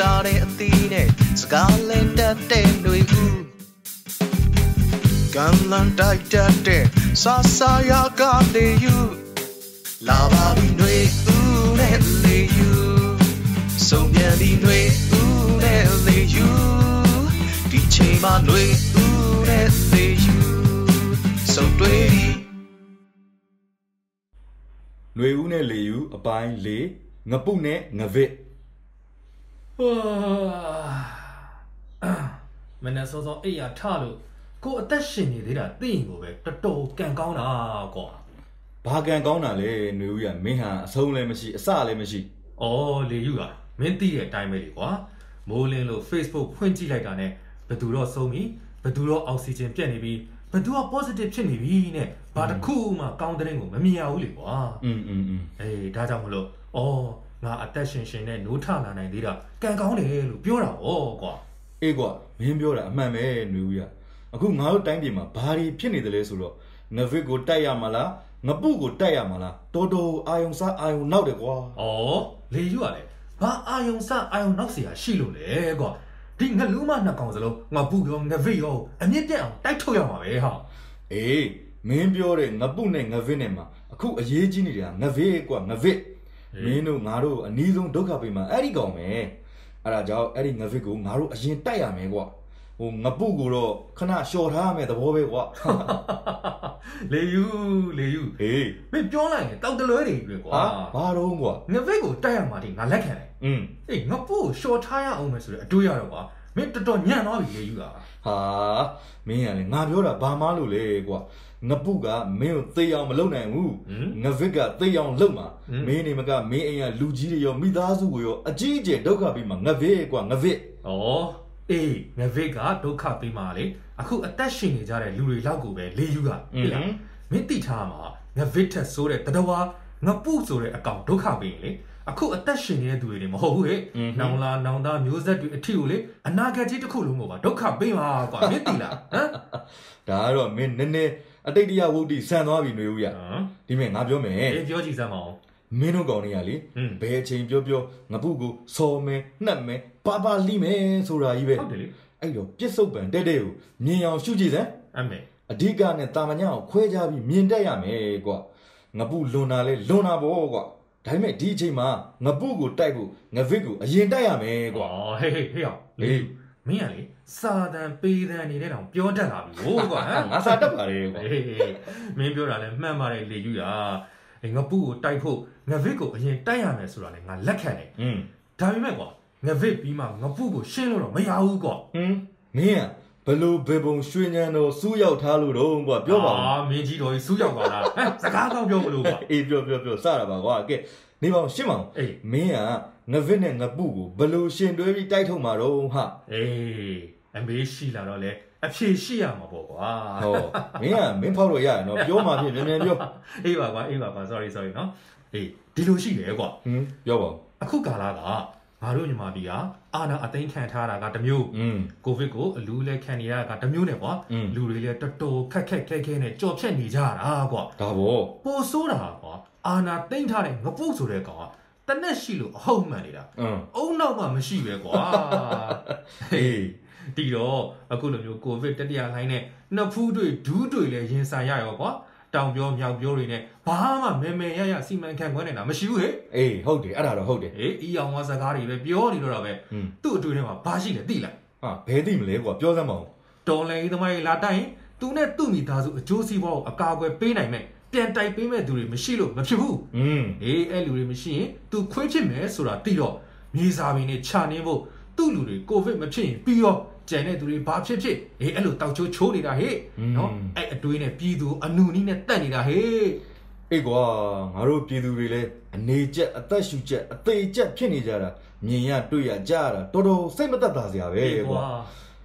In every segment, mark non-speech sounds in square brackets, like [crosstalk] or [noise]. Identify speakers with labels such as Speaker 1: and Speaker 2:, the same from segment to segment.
Speaker 1: တာတဲ့အသီးနဲ့စကားလဲတတ်တဲ့တွေဦးကံလန်တိုက်တတ်တဲ့ဆာဆာယာကနေယူလာပါပြီတွေဦးနဲ့လေယူဆုံးပြန်ပြီတွေဦးနဲ့လေယူဒီချိန်မှာတွေဦးနဲ့လေယူဆုံးတွေ့ပြီ
Speaker 2: ຫນွေဦးနဲ့လေယူအပိုင်း၄ငပုနဲ့ငဗစ်
Speaker 3: [sighs] ဟာမနေ့စောစောအိပ်ရထလို့ကိုအသက်ရှင်နေသေးတာသိရင်ကိုပဲတော်တော်ကံကောင်းတာကွာ
Speaker 2: ဘာကံကောင်းတာလဲຫນွေဦးကမင်းဟာအဆုံးလည်းမရှိအစလည်းမရှိ
Speaker 3: ။အော်လေယူကမင်းသိတဲ့အတိုင်းပဲလေကွာ။မိုးလင်းလို့ Facebook ဖွင့်ကြည့်လိုက်တာနဲ့ဘယ်သူတော့ဆုံးပြီဘယ်သူတော့အောက်ဆီဂျင်ပြတ်နေပြီဘယ်သူက positive ဖြစ်နေပြီနဲ့ဘာတစ်ခုမှကောင်းတဲ့ရင်ကိုမမြင်ရဘူးလေကွာ
Speaker 2: อืมอืมอืม
Speaker 3: ။အေးဒါကြောင့်မလို့အော်ငါအသက်ရှင်ရှင်နဲ့노ထလာနိုင်သေးတာကံကောင်းတယ်လို့ပြောတာဩကွာ။
Speaker 2: အေးကွာမင်းပြောတာအမှန်ပဲຫນွေဦးကအခုငါတို့တိုင်းပြည်မှာဘာတွေဖြစ်နေတယ်လဲဆိုတော့ငဗစ်ကိုတိုက်ရမလားငပုကိုတိုက်ရမလားတော်တော်အာယုံစားအာယုံနောက်တယ်ကွာ
Speaker 3: ။အော်လေယူကလည်းဘာအာယုံစအာယုံနောက်เสียရှိလို့လဲကွာ။ဒီငလူးမနှစ်ကောင်စလုံးငါပုရောငဗိရောအမြင့်တက်အောင်တိုက်ထုတ်ရမှာပဲဟာ
Speaker 2: အေးမင်းပြောတဲ့ငပုနဲ့ငဗစ်နဲ့မှာအခုအရေးကြီးနေတာငဗစ်ကွာငဗစ်
Speaker 3: ။
Speaker 2: မင်းတို့ငါတို့အနီးဆုံးဒုက္ခပေးမှာအဲ့ဒီကောင်ပဲအဲ့ဒါကြောင့်အဲ့ဒီငါဖစ်ကိုငါတို့အရင်တိုက်ရမယ်ကွာဟိုငပုကိုတော့ခဏလျှော်ထားရမယ်သဘောပဲကွာ
Speaker 3: လေယူလေယူ
Speaker 2: ဟေး
Speaker 3: မင်းပြောလိုက်ရင်တောက်တလွဲတွေပဲကွာ
Speaker 2: ဟာဘာတော့ကွာ
Speaker 3: ။ငဗိကိုတိုက်ရမှာဒီငါလက်ခံတယ်
Speaker 2: อืม
Speaker 3: ။အေးငပုကိုရှော့ထားရအောင်မယ်ဆိုတဲ့အတွေးရတော့ကွာ။မင်းတော်တော်ညံ့သွားပြီလေယူက။
Speaker 2: ဟာမင်းကလည်းငါပြောတာဘာမှလို့လဲကွာငပုကမင်းကိုသေအောင်မလုပ်နိုင်ဘူး
Speaker 3: ဟင်
Speaker 2: ငါဖစ်ကသေအောင်လုပ်မှာ
Speaker 3: ဟွန်း
Speaker 2: မင်းနေမကမင်းအိမ်ကလူကြီးတွေရောမိသားစုကိုရောအကြီးအကျယ်ဒုက္ခပေးမှာငါဖစ်ကွာငါဖစ်
Speaker 3: ။ဩအေးငဗိကဒုက္ခပေးမှာလေ။အခုအသက်ရှင်နေကြတဲ့လူတွေလောက်ကိုပဲလေယူက
Speaker 2: อื
Speaker 3: ဟုတ်လား
Speaker 2: ม
Speaker 3: မင်းတိထားမှာငါဗစ်ထက်ဆိုတဲ့တတဝါငပုဆိုတဲ့အကောင်ဒုက္ခပေးရင်လေအခုအသက်ရှင်နေတဲ့သူတွေတင်မဟုတ်ဘူးဟဲ့
Speaker 2: อืม
Speaker 3: နောင်လာနောင်သားမျိုးဆက်တွေအထီကိုလေအနာဂတ်ကြီးတစ်ခုလုံးကိုပါဒုက္ခပေးမှာကွာမင်းတိ
Speaker 2: [laughs]
Speaker 3: လားဟမ်
Speaker 2: ဒါကတော့မင်းနည်းနည်းအတိတ်တရားဝုဒ္ဓိဆန်သွားပြီနေဦးရဒီမဲ့ငါပြောမယ်
Speaker 3: အေးပြောကြည့်စမ်းပါဦး
Speaker 2: မင်းတို့ကောင်တွေကလေ
Speaker 3: ဟင်း
Speaker 2: ဘယ်အချိန်ပြောပြောငပုကိုစော်မယ်နှက်မယ်ပါပါလိမယ်ဆိုတာကြီးပဲ
Speaker 3: ဟုတ်တယ်လေ
Speaker 2: အဲ့တော့ပြစ်စုံပံတဲ့တဲ့ကိုမြင်အောင်ရှုကြည့်စမ်း
Speaker 3: အမေ
Speaker 2: အဓိကနဲ့တာမညာကိုခွဲခြားပြီးမြင်တတ်ရမယ်ကွာငပုလွန်တာလဲလွန်တာပေါ့ကွာဒါပေမဲ့ဒီအချိန်မှာငပုကိုတိုက်ဖို့ငဗစ်ကိုအရင်တိုက်ရမယ်ကွာ
Speaker 3: ကွာဟေးဟေးဟေးအောင်
Speaker 2: လေ
Speaker 3: လေမင်းကလေစာတန်ပေးတန်နေတဲ့တောင်ပြောတတ်လာ
Speaker 2: [laughs]
Speaker 3: ပြီဟိုးကွာဟမ်
Speaker 2: ငါစားတတ်ပါလေကွာ
Speaker 3: ဟေးဟေးမင်းပြောတာလည်းမှန်ပါတယ်လေယူရာအေးငါပုကိုတိုက်ဖို့ငါဗစ်ကိုအရင်တိုက်ရမယ်ဆိုတာလည်းငါလက်ခံတယ်
Speaker 2: อืม
Speaker 3: ဒါပေမဲ့ကွာငဗစ်ပြီးမှငပုကိုရှင်းလို့တော့မရဘူးကွာ
Speaker 2: ဟင်းမင်းอ่ะဘလို့ဘေပုံရွှေညံတော်စူးရောက်ထားလို့တော့ကွာပြောပါဦး
Speaker 3: အာမင်းကြီးတော်ကြီးစူးရောက်သွားတာဟမ်စကားကောင်းပြောမလို့ကွာ
Speaker 2: အေးပြောပြောပြောစတာပါကွာကဲနေပါအောင်ရှင်းပါအောင်
Speaker 3: အေး
Speaker 2: မင်းကငဗစ်နဲ့ငပုကိုဘယ်လို့ရှင်တွဲပြီးတိုက်ထုတ်မှာတော့ဟာ
Speaker 3: အေးအမေရှိလာတော့လေအဖြေရှိရမှာပေါ့ကွာ
Speaker 2: ဟောမင်းကမင်းဖောက်လို့ရတယ်နော်ပြောမှာဖြစ်မြန်မြန်ပြော
Speaker 3: အေးပါကွာအေးပါကွာ sorry sorry နော်အေးဒီလိုရှိတယ်ကွာ
Speaker 2: ဟင်းပြောပါဦး
Speaker 3: အခုကာလကငါတို့ညီမပြီးကအာနာအသိမ်းခံထားတာကတစ်မျိုး
Speaker 2: อืม
Speaker 3: ကိုဗစ်ကိုအလူးလဲခံနေရတာကတစ်မျိုးနဲ့ကွာ
Speaker 2: อืม
Speaker 3: လူတွေလည်းတော်တော်ခက်ခက်ခဲခဲနဲ့ကြော်ဖြတ်နေကြတာကွာ
Speaker 2: ဒါပေါ့
Speaker 3: ပိုဆိုးတာကွာအာနာတိမ့်ထားတဲ့ငပုတ်ဆိုတဲ့ကောင်ကတနက်ရှိလို့အဟုတ်မှန်နေတာ
Speaker 2: อืม
Speaker 3: အုံနောက်မှမရှိပဲကွာ
Speaker 2: [laughs] အေး
Speaker 3: တီတော့အခုလိုမျိုးကိုဗစ်တတိယလိုင်းနဲ့နှစ်ဖူးတွေဒူးတွေလည်းရင်ဆိုင်ရရောကွာတောင်ပြောမြောက်ပြောတွေနဲ့ဘာမှမဲမဲရရစီမံခန့်ခွဲနေတာမရှိဘူးဟဲ့
Speaker 2: အေးဟုတ်တယ်အဲ့ဒါတော့ဟုတ်တယ်
Speaker 3: အေးအီအောင်ဝါစကားတွေပဲပြောနေတော့တာပဲ
Speaker 2: อืม
Speaker 3: သူ့အတွေ့အထဲမှာဘာရှိလဲသိလား
Speaker 2: ဟာဘယ်သိမလဲကွာပြောစမ်းပါဦး
Speaker 3: တော်လည်းသမားကြီးလာတိုက်ရင်သူနဲ့သူ့မိသားစုအကျိုးစီးပွားကိုအကာအကွယ်ပေးနိုင်မဲ့ပြန်တိုက်ပေးမဲ့သူတွေမရှိလို့မဖြစ်ဘူး
Speaker 2: อืม
Speaker 3: အေးအဲ့လူတွေမရှိရင် तू ခွေးဖြစ်မယ်ဆိုတာသိတော့မြေစာပင်နဲ့ခြာနှင်းဖို့သူ့လူတွေကိုဗစ်မဖြစ်ရင်ပြီးတော့ကြံတဲ့သူတွေဘာဖြစ်ဖြစ်အေးအဲ့လိုတောက်ချိုးချိုးနေတာဟေ့နော်အဲ့အတွေးနဲ့ပြည်သူအနုနီးနဲ့တက်နေတာဟေ့
Speaker 2: အေးကွာငါတို့ပြည်သူတွေလည်းအနေကျက်အသက်ရှူကျက်အသေးကျက်ဖြစ်နေကြတာမြင်ရတွေ့ရကြားရတာတော်တော်စိတ်မသက်သာစရာပဲကွာ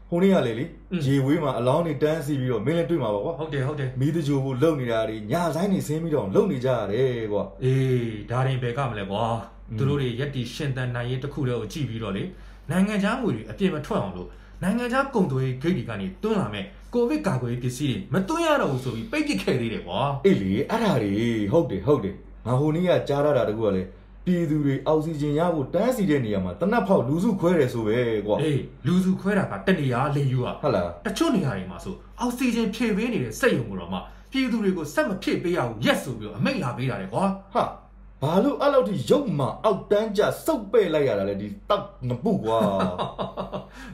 Speaker 2: ဟိုနေ့ကလေလေ
Speaker 3: อืม
Speaker 2: ရေဝေးမှာအလောင်းတွေတန်းစီပြီးတော့မင်းလည်းတွေ့မှာပါကွာ
Speaker 3: ဟုတ်တယ်ဟုတ်တယ်
Speaker 2: မီးတကြိုဖို့လုံနေတာတွေညာဆိုင်နေဆင်းပြီးတော့လုံနေကြရတယ်ကွာ
Speaker 3: အေးဒါရင်ဘယ်ကမလဲကွာ
Speaker 2: อืม
Speaker 3: သူတို့တွေရက်တီရှင်တန်နိုင်ရေးတစ်ခုတည်းကိုကြည့်ပြီးတော့လေနိုင်ငံခြားငွေတွေအပြည့်မထွက်အောင်လို့နိုင်ငံခြားကုန်သွယ်ရေးဂိတ်တွေကနေတွန်းလာမဲ့ကိုဗစ်ကာကွယ်ရေးပစ္စည်းတွေမတွန်းရတော့ဘူးဆိုပြီးပိတ်ပစ်ခဲ့သေးတယ်ကွာ
Speaker 2: အေးလေအဲ့ဒါတွေဟုတ်တယ်ဟုတ်တယ်ငါဟိုနေ့ကကြားရတာတကူကလေပ ပြည်သူတွေအောက်ဆီဂျင်ရဖို့တန်းစီတဲ့နေရာမှာတနတ်ဖောက်လူစုခွဲတယ်ဆိုပဲကွာ
Speaker 3: အေးလူစုခွဲတာကတနေရာလေယူอ่ะ
Speaker 2: ဟုတ်လား
Speaker 3: တချို့နေရာတွေမှာဆိုအောက်ဆီဂျင်ဖြည့်ပေးနေတဲ့စက်ရုံကိုတော့မှပြည်သူတွေကိုစက်မဖြည့်ပေးရဘူးရက်ဆိုပြီးတော့အမိန့်လာပေးတာလေကွာ
Speaker 2: ဟာဘာလို့အဲ့လောက်ထိရုပ်မှအောက်တန်းကျစုပ်ပဲ့လိုက်ရတာလဲဒီတောက်ငပုကွာ
Speaker 3: [laughs]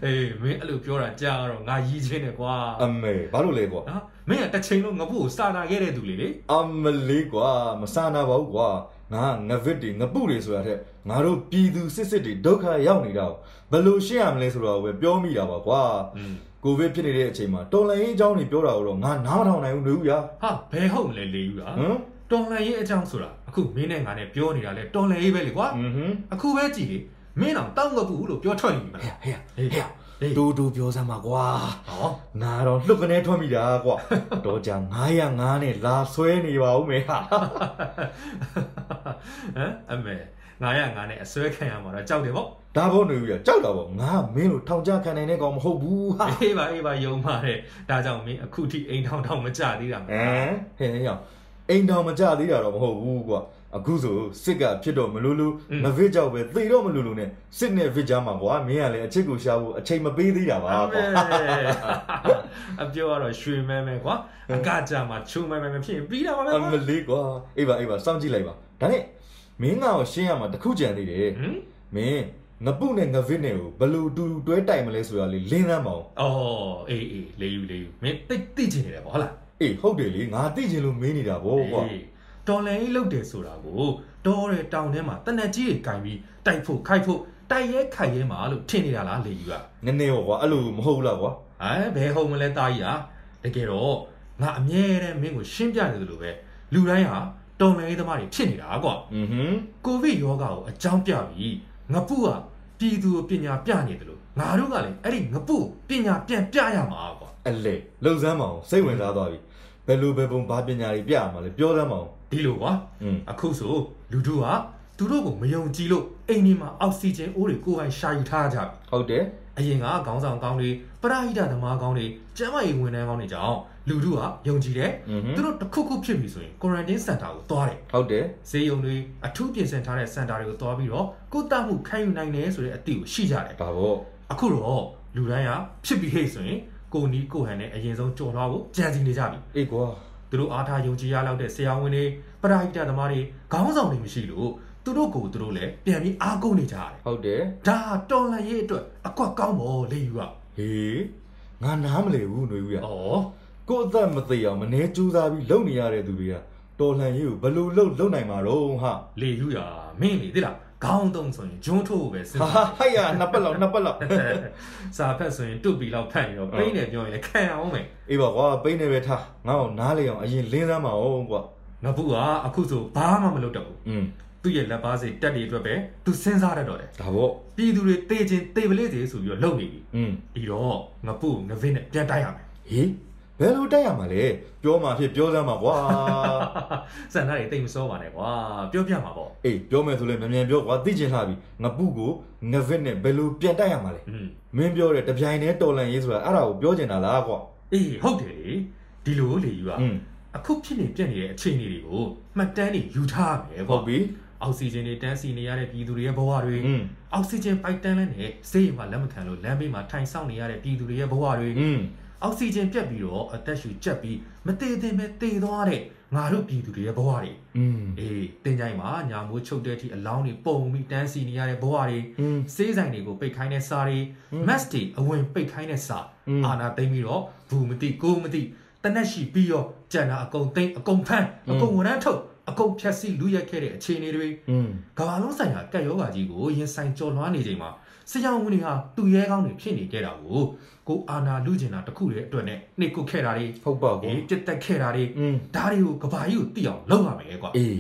Speaker 3: အေးမင်းအဲ့လိုပြောတာကြားတော့ငါရီးချင်းတယ်ကွာ
Speaker 2: အမေဘာလို့လဲကွာ
Speaker 3: နော်မင်းကတစ်ချိန်လုံးငပုကိုစာနာခဲ့တဲ့သူလေလေ
Speaker 2: အမလေးကွာမဆာနာပါဘူးကွာငါငဗစ်တွေငပုတွေဆိုတာထက်ငါတို့ပြည်သူစစ်စစ်တွေဒုက္ခရောက်နေတာကိုဘယ်လိုရှင်းရမလဲဆိုတာကိုပဲပြောမိတာပါကွာ
Speaker 3: อืม
Speaker 2: ကိုဗစ်ဖြစ်နေတဲ့အချိန်မှာတော်လှန်ရေးအကြောင်းတွေပြောတာကိုတော့ငါနားမထောင်နိုင်ဘူးနေဦးရ
Speaker 3: ဟာဘယ်ဟုတ်မလဲလေယူอ่ะ
Speaker 2: ဟမ်
Speaker 3: တော်လန်ရေးအကြောင်းဆိုတာအခုမင်းနဲ့ငါနဲ့ပြောနေတာလဲတော်လန်ရေးပဲလေကွာ
Speaker 2: อือဟွန်း
Speaker 3: အခုပဲကြည်လေမင်းတော့တောင်းငပုလို့ပြောထွက်နေပြီမလား
Speaker 2: ဟဲ့
Speaker 3: ဟေး
Speaker 2: ဟဲ့
Speaker 3: ဟေး
Speaker 2: တူတူပြောစမ်းပါကွာ
Speaker 3: ဟော [laughs]
Speaker 2: ငါတော့လှုပ်ကနေထွက်မိတာကွာ တော့ကြာ905နဲ့လာဆွဲနေပါဦးမေဟာ
Speaker 3: ဟမ်အမေ905နဲ့အစွဲခံရမှာတော့ကြောက်တယ်ပေါ့
Speaker 2: ဒါဘောနေဦးရကြောက်တာပေါ့ငါမင်းလိုထောင်ချခံနိုင်တဲ့ကောင်မဟုတ်ဘူးဟာ
Speaker 3: အေးပါအေးပါယုံပါတယ်ဒါကြောင့်မင်းအခုထိအိမ်ထောင်ထောင်မကြသေးတာမ
Speaker 2: ဟ
Speaker 3: လား
Speaker 2: မ်ဟဲ့ဟဲ့ရောက်အိမ်တော်မကြသေးတာတော့မဟုတ်ဘူးကွာအခုဆိုစစ်ကဖြစ်တော့မလို့လို့မဗစ်ကြောက်ပဲသေတော့မလို့လို့နဲ့စစ်နဲ့ဗစ်ကြားမှာကွာမင်းကလည်းအချစ်ကိုရှာဖို့အချိန်မပေးသေးတာပါ
Speaker 3: အ
Speaker 2: ကွာ
Speaker 3: မေ [laughs] အပြောကတော့ရွှေမဲမဲကွာအကကြမှာချုံမဲမဲမဖြစ်ရင်ပြီးတာပါပဲ
Speaker 2: အ
Speaker 3: ကွာ
Speaker 2: မလေးကွာအေးပါအေးပါစောင့်ကြည့်လိုက်ပါဒါနဲ့မင်းငါ့ကိုရှင်းရမှာတစ်ခုကြံသေးတယ်
Speaker 3: ဟမ်
Speaker 2: မင်းငပုနဲ့ငဗစ်နဲ့ကိုဘယ်လို့တူတူတွဲတိုင်မလဲဆိုတာလေးလင်းသမ်းပါအောင်
Speaker 3: အော်အေးအေးလေးယူလေးယူမင်းတိတ်တိတ်ချင်နေတယ်ပေါ့ဟုတ်လား
Speaker 2: အေးဟုတ်တယ်လေငါသိချင်လို့မင်းနေတာဗောကွာ
Speaker 3: အေးတော်လန်ကြီးလုပ်တယ်ဆိုတာကိုတော်ရဲတောင်ထဲမှာတနက်ကြီးကြီးကင်ပြီးတိုက်ဖို့ခိုက်ဖို့တိုက်ရဲခိုက်ရဲမှာလို့ထင်နေတာလားလေးယူက
Speaker 2: နည်းနည်းဗောကွာအဲ့လိုမဟုတ်ဘူးလားကွာ
Speaker 3: ဟဲ့ဘယ်ဟုတ်မလဲတာကြီးဟာတကယ်တော့ငါအမြဲတမ်းမင်းကိုရှင်းပြနေသလိုပဲလူတိုင်းဟာတော်မယ်ရေးသမားတွေဖြစ်နေတာကွာ
Speaker 2: อือဟึ
Speaker 3: ကိုဗစ်ရောဂါကိုအကြောင်းပြပြီးငပုကပြည်သူကိုပညာပြနေတယ်လို့ငါတို့ကလည်းအဲ့ဒီငပုကိုပညာပြန်ပြရမှာကွာ
Speaker 2: အလေလှုပ်သမ်းပါအောင်စိတ်ဝင်စားသွားပြီဘယ်လိုပဲပုံဘာပညာတွေပြရမှာလဲပြောသမ်းပါအောင်
Speaker 3: ဒီလိုကွာ
Speaker 2: อืม
Speaker 3: အခုဆိုလူတို့ဟာသူတို့ကိုမယုံကြည်လို့အိမ်ထဲမှာအောက်ဆီဂျင်အိုးတွေကိုယ်ပိုင်ရှာယူထားကြပြီ
Speaker 2: ဟုတ်တယ်
Speaker 3: အရင်ကခေါင်းဆောင်ကောင်းတွေပရဟိတသမားကောင်းတွေကျမ်းမာရေးဝန်ထမ်းကောင်းတွေကြောင့်လူတို့ဟာယုံကြည်တယ်
Speaker 2: อือဟึ
Speaker 3: သူတို့တစ်ခုခုဖြစ်ပြီဆိုရင် quarantine center ကိုသွားတယ်
Speaker 2: ဟုတ်တယ်
Speaker 3: ဈေးရုံတွေအထူးပြင်ဆင်ထားတဲ့ center တွေကိုသွားပြီးတော့ကုသမှုခံယူနိုင်တယ်ဆိုတဲ့အသိကိုရှိကြတယ်
Speaker 2: ဒါဗော
Speaker 3: အခုတော့လူတိုင်းဟာဖြစ်ပြီးဟဲ့ဆိုရင်ကိုနီကိုဟန်နဲ့အရင်ဆုံးကြော်လွှားဖို့ကြံစီနေကြပြီ
Speaker 2: အေးကွာ
Speaker 3: သူတို့အားထားယုံကြည်ရလောက်တဲ့ဆရာဝန်တွေပရဟိတသမားတွေခေါင်းဆောင်တွေမရှိလို့သူတို့ကိုယ်သူတို့လည်းပြန်ပြီးအားကိုးနေကြရတယ်
Speaker 2: ဟုတ်တယ်
Speaker 3: ဒါတော်လှန်ရေးအတွက်အကွက်ကောင်းပေါ်လေယူက
Speaker 2: ဟေးငါနားမလည်ဘူးຫນွေဦးရ
Speaker 3: ဩ
Speaker 2: ကိုယ့်အသက်မသေးအောင်မနေကြိုးစားပြီးလုပ်နေရတဲ့သူတွေကတော်လှန်ရေးကိုဘယ်လို့လုပ်လုပ်နိုင်မှာတော့ဟာ
Speaker 3: လေယူရမင်းလေတိလားခေါင်းတုံးဆိုရင်ဂျွန်းထိုးဖို့ပဲစဉ်း
Speaker 2: ဟာ
Speaker 3: စား
Speaker 2: ဟာ
Speaker 3: [laughs]
Speaker 2: ဟဲ့ရနှစ်ပတ်လောက်နှစ်ပတ်လောက်
Speaker 3: စာဖတ်ဆိုရင်တုတ်ပီလောက်ဖတ်ရင်တော့ပိနေပြောရင်လည်းခံအောင်မယ်
Speaker 2: အေးပါကွာပိတ်နေပဲထားငါ့ကိုနားလေအောင်အရင်လင်းစမ်းပါအောင်ကွာ
Speaker 3: ငါဘူးကအခုဆိုဘာမှမလုပ်တော့ဘူး
Speaker 2: อืม
Speaker 3: သူ့ရဲ့လက်ပါစိတ်တက်တွေအတွက်ပဲသူစဉ်းစားရတော့တယ်
Speaker 2: ဒါပေါ့
Speaker 3: ပြည်သူတွေတေးချင်းတေးပလေးတွေဆိုပြီးတော့လုပ်နေပြီ
Speaker 2: อืม
Speaker 3: ပြီးတော့ငါပုငါဗင်းနဲ့ပြန်တိုက်ရမယ်
Speaker 2: ဟေးဘယ်လိုတိုက်ရမှာလဲပြောမှာဖြစ်ပြောစမ်းပါ [laughs] ကွာ
Speaker 3: စန္ဒာတွေတိတ်မစောပါနဲ့ကွာပြောပြမှာပေါ့
Speaker 2: အေးပြောမယ်ဆိုလဲမြန်မြန်ပြောကွာသိချင်လှပြီငပုကိုငဗစ်နဲ့ဘယ်လိုပြန်တိုက်ရမှာလဲ
Speaker 3: อืม
Speaker 2: မင်းပြောတဲ့တပြိုင်တည်းတော်လန်ရေးဆိုတာအဲ့ဒါကိုပြောချင်တာလားကွာ
Speaker 3: အေးဟုတ်တယ်လေဒီလိုလေယူอ่ะ
Speaker 2: อืม
Speaker 3: အခုဖြစ်နေပြက်နေတဲ့အခြေအနေတွေကိုမှတ်တမ်းတွေယူထားရမယ်
Speaker 2: ဟု
Speaker 3: ပေါ့
Speaker 2: တ်ပြီ
Speaker 3: အောက်ဆီဂျင်တွေတန်းစီနေရတဲ့ပြည်သူတွေရဲ့ဘဝတွေ
Speaker 2: อืม
Speaker 3: အောက်ဆီဂျင်ပိုက်တန်းလည်းနဲ့ဆေးရုံကလက်မခံလို့လမ်းဘေးမှာထိုင်ဆောင်နေရတဲ့ပြည်သူတွေရဲ့ဘဝတွေ
Speaker 2: อืม
Speaker 3: အောက်ဆီဂျင်ပြတ်ပြီးတော့အသက်ရှူကျက်ပြီးမတည်တင်ပဲတည်သွားတဲ့ငါတို့ပြည်သူတွေရဲ့ဘဝတွေ
Speaker 2: อืม
Speaker 3: အေးတင်ကြိုင်မှာညာမိုးချုပ်တဲ့အထိအလောင်းတွေပုံပြီးတန်းစီနေရတဲ့ဘဝတွေ
Speaker 2: อืม
Speaker 3: စေးဆိုင်တွေကိုပိတ်ခိုင်းတဲ့စာတွေ
Speaker 2: อืม
Speaker 3: mask တွေအဝင်ပိတ်ခိုင်းတဲ့စာ
Speaker 2: อืม
Speaker 3: အာနာသိမ့်ပြီးတော့ဘူးမသိကိုယ်မသိတနက်ရှိပြီးတော့ကြံတာအကုန်သိမ့်အကုန်ဖမ်းအကုန်ဝန်ထမ်းထုတ်အကုန်ဖြက်စီလူရက်ခဲ့တဲ့အခြေအနေတွေ
Speaker 2: อืม
Speaker 3: ကမ္ဘာလုံးဆိုင်ရာကက်ယောဂါကြီးကိုရင်ဆိုင်ကြော်လွှားနေချိန်မှာဆရာဝန်တွေဟာသူရဲကောင်းတွေဖြစ်နေကြတာကိုကိုအာနာလူကျင်တာတစ်ခုတည်းအတွက်နဲ့နှိတ်ကုတ်ခဲ့တာတွေ
Speaker 2: ဟုတ်ပါကွာ
Speaker 3: အေးပြစ်တက်ခဲ့တာတွေ
Speaker 2: อืม
Speaker 3: ဒါတွေကိုကဘာကြီးကိုသိအောင်လုပ်ရမယ်ကွာ
Speaker 2: အေး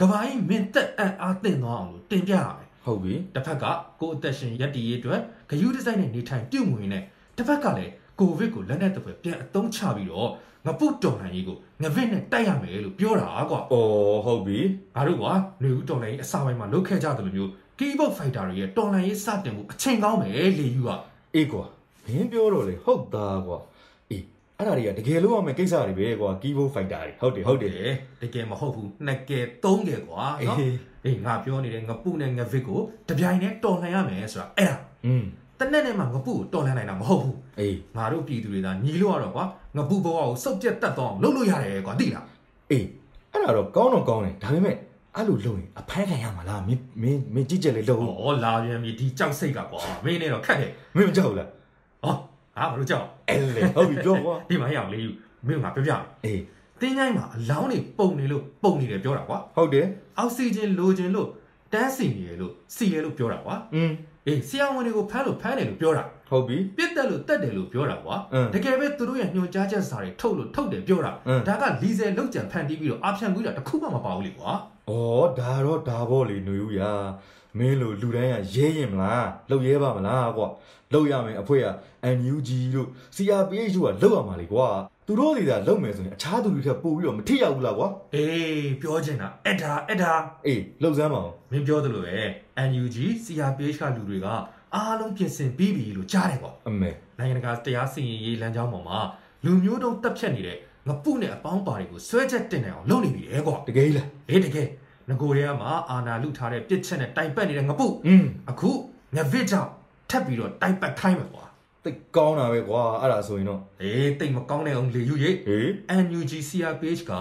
Speaker 3: ကဘာကြီးမင်းသက်အံ့အားသင့်သွားအောင်လို့တင်ပြရမယ်
Speaker 2: ဟုတ်ပြီ
Speaker 3: တစ်ဖက်ကကိုအသက်ရှင်ရပ်တည်ရေးအတွက်ဂရုတစိုက်နဲ့နေထိုင်ပြုမူရင်းနဲ့တစ်ဖက်ကလည်းကိုဗစ်ကိုလက်နက်တစ်ပွဲပြန်အသုံးချပြီးတော့ငပုတ်တော်လှန်ရေးကိုငဗစ်နဲ့တိုက်ရမယ်လို့ပြောတာကွာ
Speaker 2: ဩဟုတ်ပြီ
Speaker 3: ငါတို့ကຫນွေဦးတော်လိုင်းအစာပိုင်းမှာလုတ်ခဲ့ကြတယ်လို့မျိုး keyboard fighter တွေရဲ့တော်လိုင်းရေးစတင်မှုအချိန်ကောင်းပဲလေယူက
Speaker 2: အေးကွာမင်းပြောတော့လေဟုတ်သားကွာအေးအဲ့ဒါတွေကတကယ်လို့ရမယ့်ကိစ္စတွေပဲကွာ keyboard fighter တွေဟုတ်တယ်ဟုတ်တယ်
Speaker 3: တကယ်မဟုတ်ဘူးနှစ်ကယ်သုံးကယ်ကွာနော် အေးငါပြောနေတဲ့ငပုနဲ့ငဗစ်ကိုတပြိုင်တည်းတော်လှန်ရမယ်ဆိုတာအဲ့ဒါ
Speaker 2: อืม
Speaker 3: တနက်နဲ့မှငပုကိုတော်လှန်နိုင်တာမဟုတ်ဘူး
Speaker 2: အေး
Speaker 3: ငါတို့ပြည်သူတွေကညီလို့ရတော့ကွာငပုဘဝကိုစုပ်ပြတ်တတ်တော့အောင်လုပ်လို့ရတယ်ကွာသိလား
Speaker 2: အေးအဲ့ဒါတော့ကောင်းတော့ကောင်းတယ်ဒါပေမဲ့အဲ့လိုလုပ်ရင်အဖမ်းခံရမှာလားမင်းမင်းမင်းကြည့်ကြလေလုပ်ဦး
Speaker 3: ဩလာပြန်ပြီဒီကြောက်စိတ်ကကွာမင်းနဲ့တော့ခက်တယ်
Speaker 2: မင်းမကြောက်ဘူးလား
Speaker 3: ဟောငါဘာလို့ကြောက်
Speaker 2: အဲ့လေဟုတ်ပြီပြောကွာ
Speaker 3: ဒီမှာရအောင်လေးယူမင်းကငါပြပြမယ်
Speaker 2: အေး
Speaker 3: တင်းတိုင်းမှာအလောင်းတွေပုံနေလို့ပုံနေတယ်ပြောတာကွာ
Speaker 2: ဟုတ်တယ်
Speaker 3: အောက်ဆီဂျင်လိုချင်လို့တန်းစီနေရလို့စီရလို့ပြောတာကွာ
Speaker 2: อืม
Speaker 3: အေးဆရာဝန်တွေကိုဖမ်းလို့ဖမ်းတယ်လို့ပြောတာ
Speaker 2: ဟုတ်ပြီ
Speaker 3: ပြစ်တက်လို့တက်တယ်လို့ပြောတာကွာ
Speaker 2: အင်း
Speaker 3: တကယ်ပဲသူတို့ရဲ့ညွှန်ကြားချက်စာတွေထုတ်လို့ထုတ်တယ်ပြောတာ
Speaker 2: အင်း
Speaker 3: ဒါကလီဇယ်လောက်ကြံဖန်တီးပြီးတော့အဖျံကူးတာတစ်ခုမှမပါဘူးလေကွာ
Speaker 2: ဩဒါတော့ဒါပေါ့လေຫນွေဦးရာမင်းလိုလူတိုင်းကရဲရင်မလားလှုပ်ရဲပါမလားကွာလှုပ်ရမယ်အဖွဲ့က NUG တို့ CRPH တို့ကလှုပ်ရမှာလေကွာသူတို့တွေကလှုပ်မယ်ဆိုရင်အခြားသူတွေကပို့ပြီးတော့မထိရောက်ဘူးလားကွာ
Speaker 3: အေးပြောချင်တာအဲ့ဒါအဲ့ဒါ
Speaker 2: အေးလှုပ်စမ်းပါဦး
Speaker 3: မင်းပြောသလိုပဲ NUG CRPH ကလူတွေကအားလုံးပြင်ဆင်ပြီးပြီလို့ကြားတယ်ကွာ
Speaker 2: အမေ
Speaker 3: နိုင်ငံတကာတရားစီရင်ရေးလမ်းကြောင်းပေါ်မှာလူမျိုးတုံးတက်ဖြတ်နေတဲ့ငပုနဲ့အပေါင်းပါတွေကိုဆွဲချက်တင်နိုင်အောင်လုပ်နေပြီလေကွာ
Speaker 2: တကယ်ကြီးလား
Speaker 3: အေးတကယ်ငကိုရဲကမှအာနာလူထားတဲ့ပြစ်ချက်နဲ့တိုင်ပတ်နေတဲ့ငပု
Speaker 2: อืม
Speaker 3: အခုငဗစ်ကြောင့်ထပ်ပြီးတော့တိုင်ပတ်ခိုင်းမှာကွာ
Speaker 2: သိပ်ကောင်းတာပဲကွာအဲ့ဒါဆိုရင်တော့
Speaker 3: အေးတိတ်မကောင်းတဲ့အောင်လေယူရေ
Speaker 2: ဟေး
Speaker 3: NUG CR page က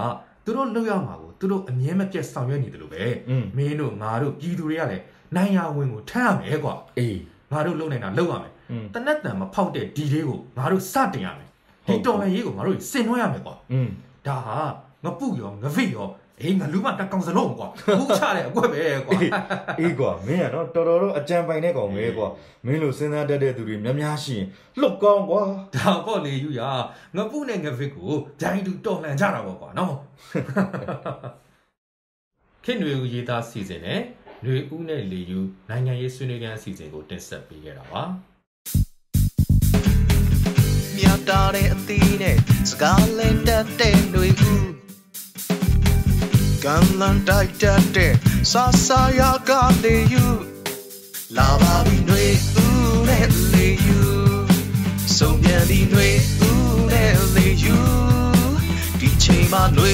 Speaker 3: သူတို့လောက်ရမှာကိုသူတို့အမြဲမပြတ်ဆောင်ရွက်နေတယ်လို့ပဲ
Speaker 2: อืม
Speaker 3: မင်းတို့ငါတို့ပြည်သူတွေကလည်းနိုင်ရဝင်ကိုထမ်းရမယ်ကွာ
Speaker 2: အေး
Speaker 3: ငါတို့လုံနိုင်တာလုံရမယ်
Speaker 2: อืม
Speaker 3: တနက်တန်မဖောက်တဲ့ဒီလေးကိုငါတို့စတင်ရမယ်
Speaker 2: ဟုတ်
Speaker 3: ဒီ
Speaker 2: ကဲ့
Speaker 3: တော်လှန်ရေးကိုငါတို့စင်နှွှဲရမယ်ကွာ
Speaker 2: อืม
Speaker 3: ဒါဟာငပုရောငဗိရောအေးငါလူမတက်ကောင်စလုံးကွာဘူးချတဲ့အကွက်ပဲကွာ
Speaker 2: အေးကွာမင်းကတော့တော်တော်တော့အကြံပိုင်တဲ့ကောင်ပဲကွာမင်းလိုစဉ်းစားတတ်တဲ့သူတွေများများရှိရင်လှုပ်ကောင်းကွာ
Speaker 3: ဒါပေါ့လေယူရငပုနဲ့ငဗစ်ကိုဂျိုင်းတူတော်လှန်ကြတာပေါ့ကွာနော် ခင်ရွေဦးရေးသားစီစဉ်နဲ့ရွေဦးနဲ့လေယူနိုင်ငံရေးဆွေးနွေးခန်းအစီအစဉ်ကိုတင်ဆက်ပေးခဲ့တာပါ
Speaker 1: မြတ်တာတဲ့အသီးနဲ့စကားလင်းတတ်တဲ့တွေကူကံလန်တိုက်တတ်တဲ့ဆာဆာယာကလေးယူလာပါပြီတွေဦးနဲ့လေးယူစုံပြန်ပြီတွေဦးနဲ့လေးယူဒီချိန်မှာတွေ